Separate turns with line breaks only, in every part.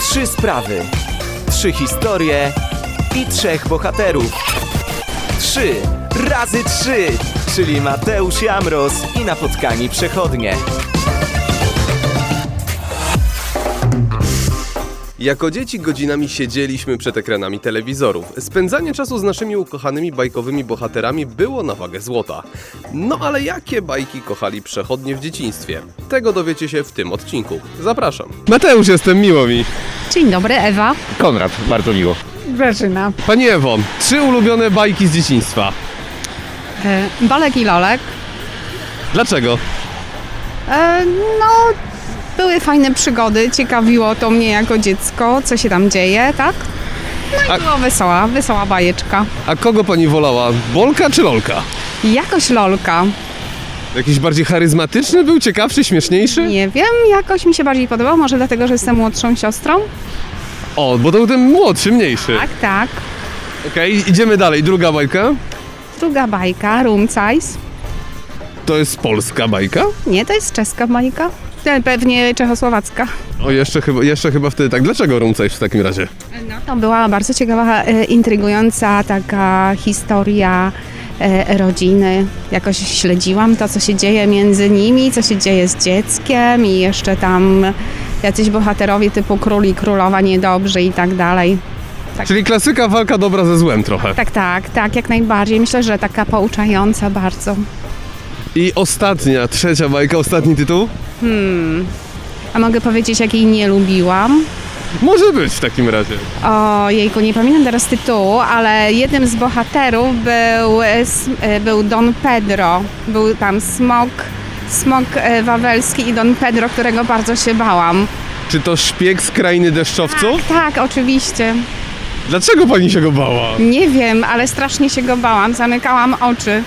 Trzy sprawy, trzy historie i trzech bohaterów. Trzy razy trzy, czyli Mateusz Jamros i napotkani przechodnie.
Jako dzieci godzinami siedzieliśmy przed ekranami telewizorów. Spędzanie czasu z naszymi ukochanymi bajkowymi bohaterami było na wagę złota. No ale jakie bajki kochali przechodnie w dzieciństwie? Tego dowiecie się w tym odcinku. Zapraszam. Mateusz, jestem miło mi.
Dzień dobry, Ewa.
Konrad, bardzo miło.
Grażyna.
Panie Ewo, trzy ulubione bajki z dzieciństwa.
E, Bolek i Lolek.
Dlaczego?
E, no, były fajne przygody, ciekawiło to mnie jako dziecko, co się tam dzieje, tak? No
A-
i była wesoła, wesoła bajeczka.
A kogo pani wolała? Bolka czy Lolka?
Jakoś Lolka.
Jakiś bardziej charyzmatyczny był, ciekawszy, śmieszniejszy?
Nie wiem, jakoś mi się bardziej podobał, może dlatego, że jestem młodszą siostrą?
O, bo to był ten młodszy, mniejszy.
Tak, tak.
Okej, idziemy dalej. Druga bajka.
Druga bajka, Room Size.
To jest polska bajka?
Nie, to jest czeska bajka. E, Pewnie czechosłowacka.
O, jeszcze chyba, jeszcze chyba wtedy tak. Dlaczego rumcajsz w takim razie?
No, To była bardzo ciekawa, e, intrygująca taka historia e, rodziny. Jakoś śledziłam to, co się dzieje między nimi, co się dzieje z dzieckiem i jeszcze tam jacyś bohaterowie typu król i królowa niedobrzy i tak dalej.
Czyli klasyka walka dobra ze złem trochę.
Tak, tak, tak, jak najbardziej. Myślę, że taka pouczająca bardzo.
I ostatnia, trzecia bajka, ostatni tytuł?
A mogę powiedzieć, jakiej nie lubiłam?
Może być w takim razie.
O jejku, nie pamiętam teraz tytułu, ale jednym z bohaterów był, e, s- e, był Don Pedro. Był tam smok, smok e, wawelski i Don Pedro, którego bardzo się bałam.
Czy to szpieg z krainy deszczowców?
Tak, oczywiście.
Dlaczego pani się go bała?
Nie wiem, ale strasznie się go bałam. Zamykałam oczy.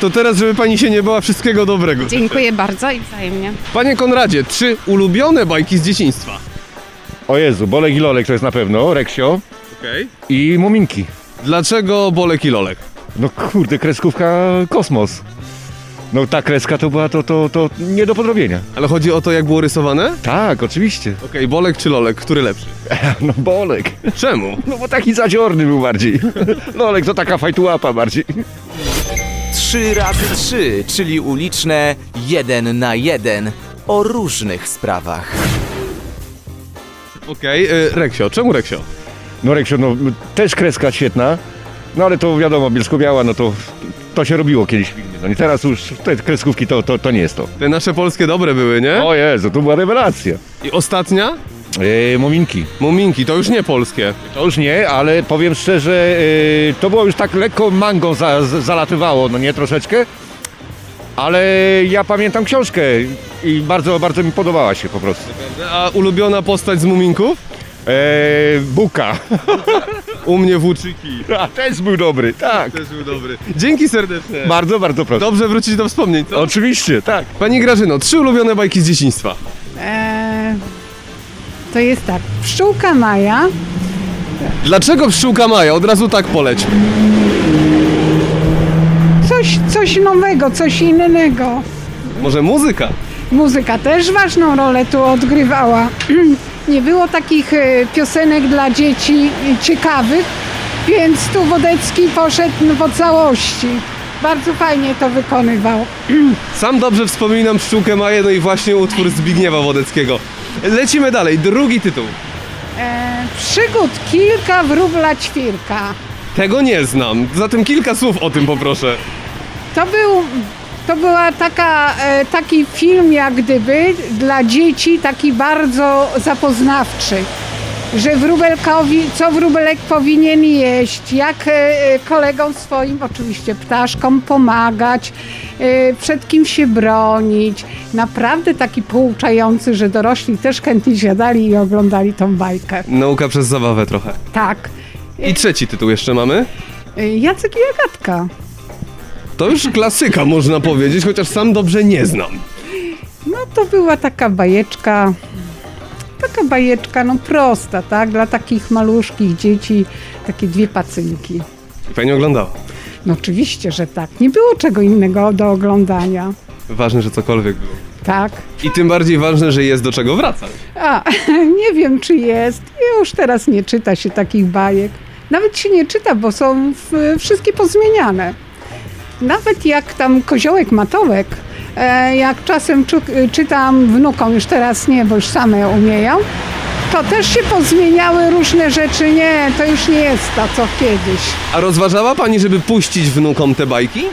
To teraz, żeby pani się nie bała, wszystkiego dobrego.
Dziękuję bardzo i wzajemnie.
Panie Konradzie, trzy ulubione bajki z dzieciństwa.
O Jezu, Bolek i Lolek to jest na pewno, Reksio
Okej.
i Muminki.
Dlaczego Bolek i Lolek?
No kurde, kreskówka Kosmos. No ta kreska to była to, to, to nie do podrobienia.
Ale chodzi o to, jak było rysowane? Okej,
Tak, oczywiście.
Bolek czy Lolek, który lepszy?
No Bolek.
Czemu?
No bo taki zadziorny był bardziej. Lolek to taka fajtułapa bardziej.
Trzy razy trzy, czyli uliczne jeden na jeden o różnych sprawach.
Okej, y, Reksio, czemu Reksio?
No Reksio, no też kreska świetna. No ale to wiadomo, Bielsko-Biała, no to, to się robiło kiedyś filmy. No nie teraz już te kreskówki to, to, to nie jest to.
Te nasze polskie dobre były, nie?
O Jezu, to była rewelacja.
I ostatnia?
Yy, Muminki.
Muminki, to już nie polskie.
To już nie, ale powiem szczerze, yy, to było już tak lekko mangą za, z- zalatywało, no nie troszeczkę. Ale ja pamiętam książkę i bardzo, bardzo mi podobała się po prostu.
A ulubiona postać z Muminków?
Eee, Buka.
U mnie włóczyki.
A, też był dobry, tak.
Też był dobry. Dzięki serdecznie.
Bardzo, bardzo proszę.
Dobrze wrócić do wspomnień, co?
Oczywiście, tak.
Pani Grażyno, trzy ulubione bajki z dzieciństwa.
Eee, to jest tak, pszczółka Maja,
Dlaczego pszczółka Maja? Od razu tak poleć.
coś, coś nowego, coś innego.
Może muzyka?
Muzyka też ważną rolę tu odgrywała. Nie było takich e, piosenek dla dzieci e, ciekawych, więc tu Wodecki poszedł no, po całości. Bardzo fajnie to wykonywał.
Sam dobrze wspominam pszczółkę Maję, no i właśnie utwór Zbigniewa Wodeckiego. Lecimy dalej, drugi tytuł.
Eee, przygód kilka wróbla ćwirka.
Tego nie znam, zatem kilka słów o tym poproszę.
To był, to była taka, e, taki film jak gdyby dla dzieci, taki bardzo zapoznawczy. Że wróbelkowi, co wróbelek powinien jeść, jak e, e, kolegom swoim, oczywiście ptaszkom pomagać, e, przed kim się bronić. Naprawdę taki pouczający, że dorośli też chętnie siadali i oglądali tą bajkę.
Nauka przez zabawę trochę.
Tak.
I trzeci tytuł jeszcze mamy.
E, Jacek i Agatka.
To już klasyka można powiedzieć, chociaż sam dobrze nie znam.
No to była taka bajeczka, taka bajeczka, no prosta, tak? Dla takich maluszkich dzieci, takie dwie pacynki.
I pani oglądała.
No oczywiście, że tak. Nie było czego innego do oglądania.
Ważne, że cokolwiek było.
tak.
I tym bardziej ważne, że jest do czego wracać.
A, nie wiem czy jest. Już teraz nie czyta się takich bajek. Nawet się nie czyta, bo są w, wszystkie pozmieniane. Nawet jak tam koziołek matołek, e, jak czasem czu, e, czytam wnukom, już teraz nie, bo już same umieją, to też się pozmieniały różne rzeczy. Nie, to już nie jest to, co kiedyś.
A rozważała pani, żeby puścić wnukom te bajki?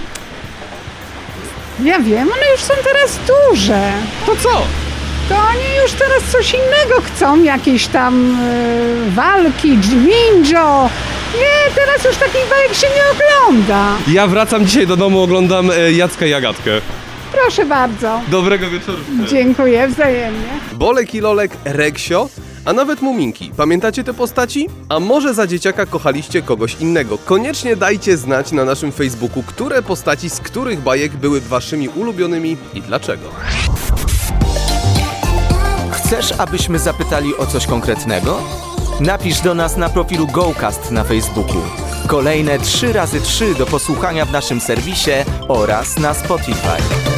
Ja wiem, one już są teraz duże.
To co?
To oni już teraz coś innego chcą, jakieś tam e, walki, dźwindżo. Nie, teraz już takich bajek się nie ogląda.
Ja wracam dzisiaj do domu, oglądam e, Jacka Jagatkę.
Proszę bardzo.
Dobrego wieczoru.
Dziękuję wzajemnie.
Bolek i Lolek, Reksio, a nawet Muminki. Pamiętacie te postaci? A może za dzieciaka kochaliście kogoś innego? Koniecznie dajcie znać na naszym Facebooku, które postaci z których bajek były waszymi ulubionymi i dlaczego.
Chcesz, abyśmy zapytali o coś konkretnego? Napisz do nas na profilu GoCast na Facebooku. Kolejne 3 razy 3 do posłuchania w naszym serwisie oraz na Spotify.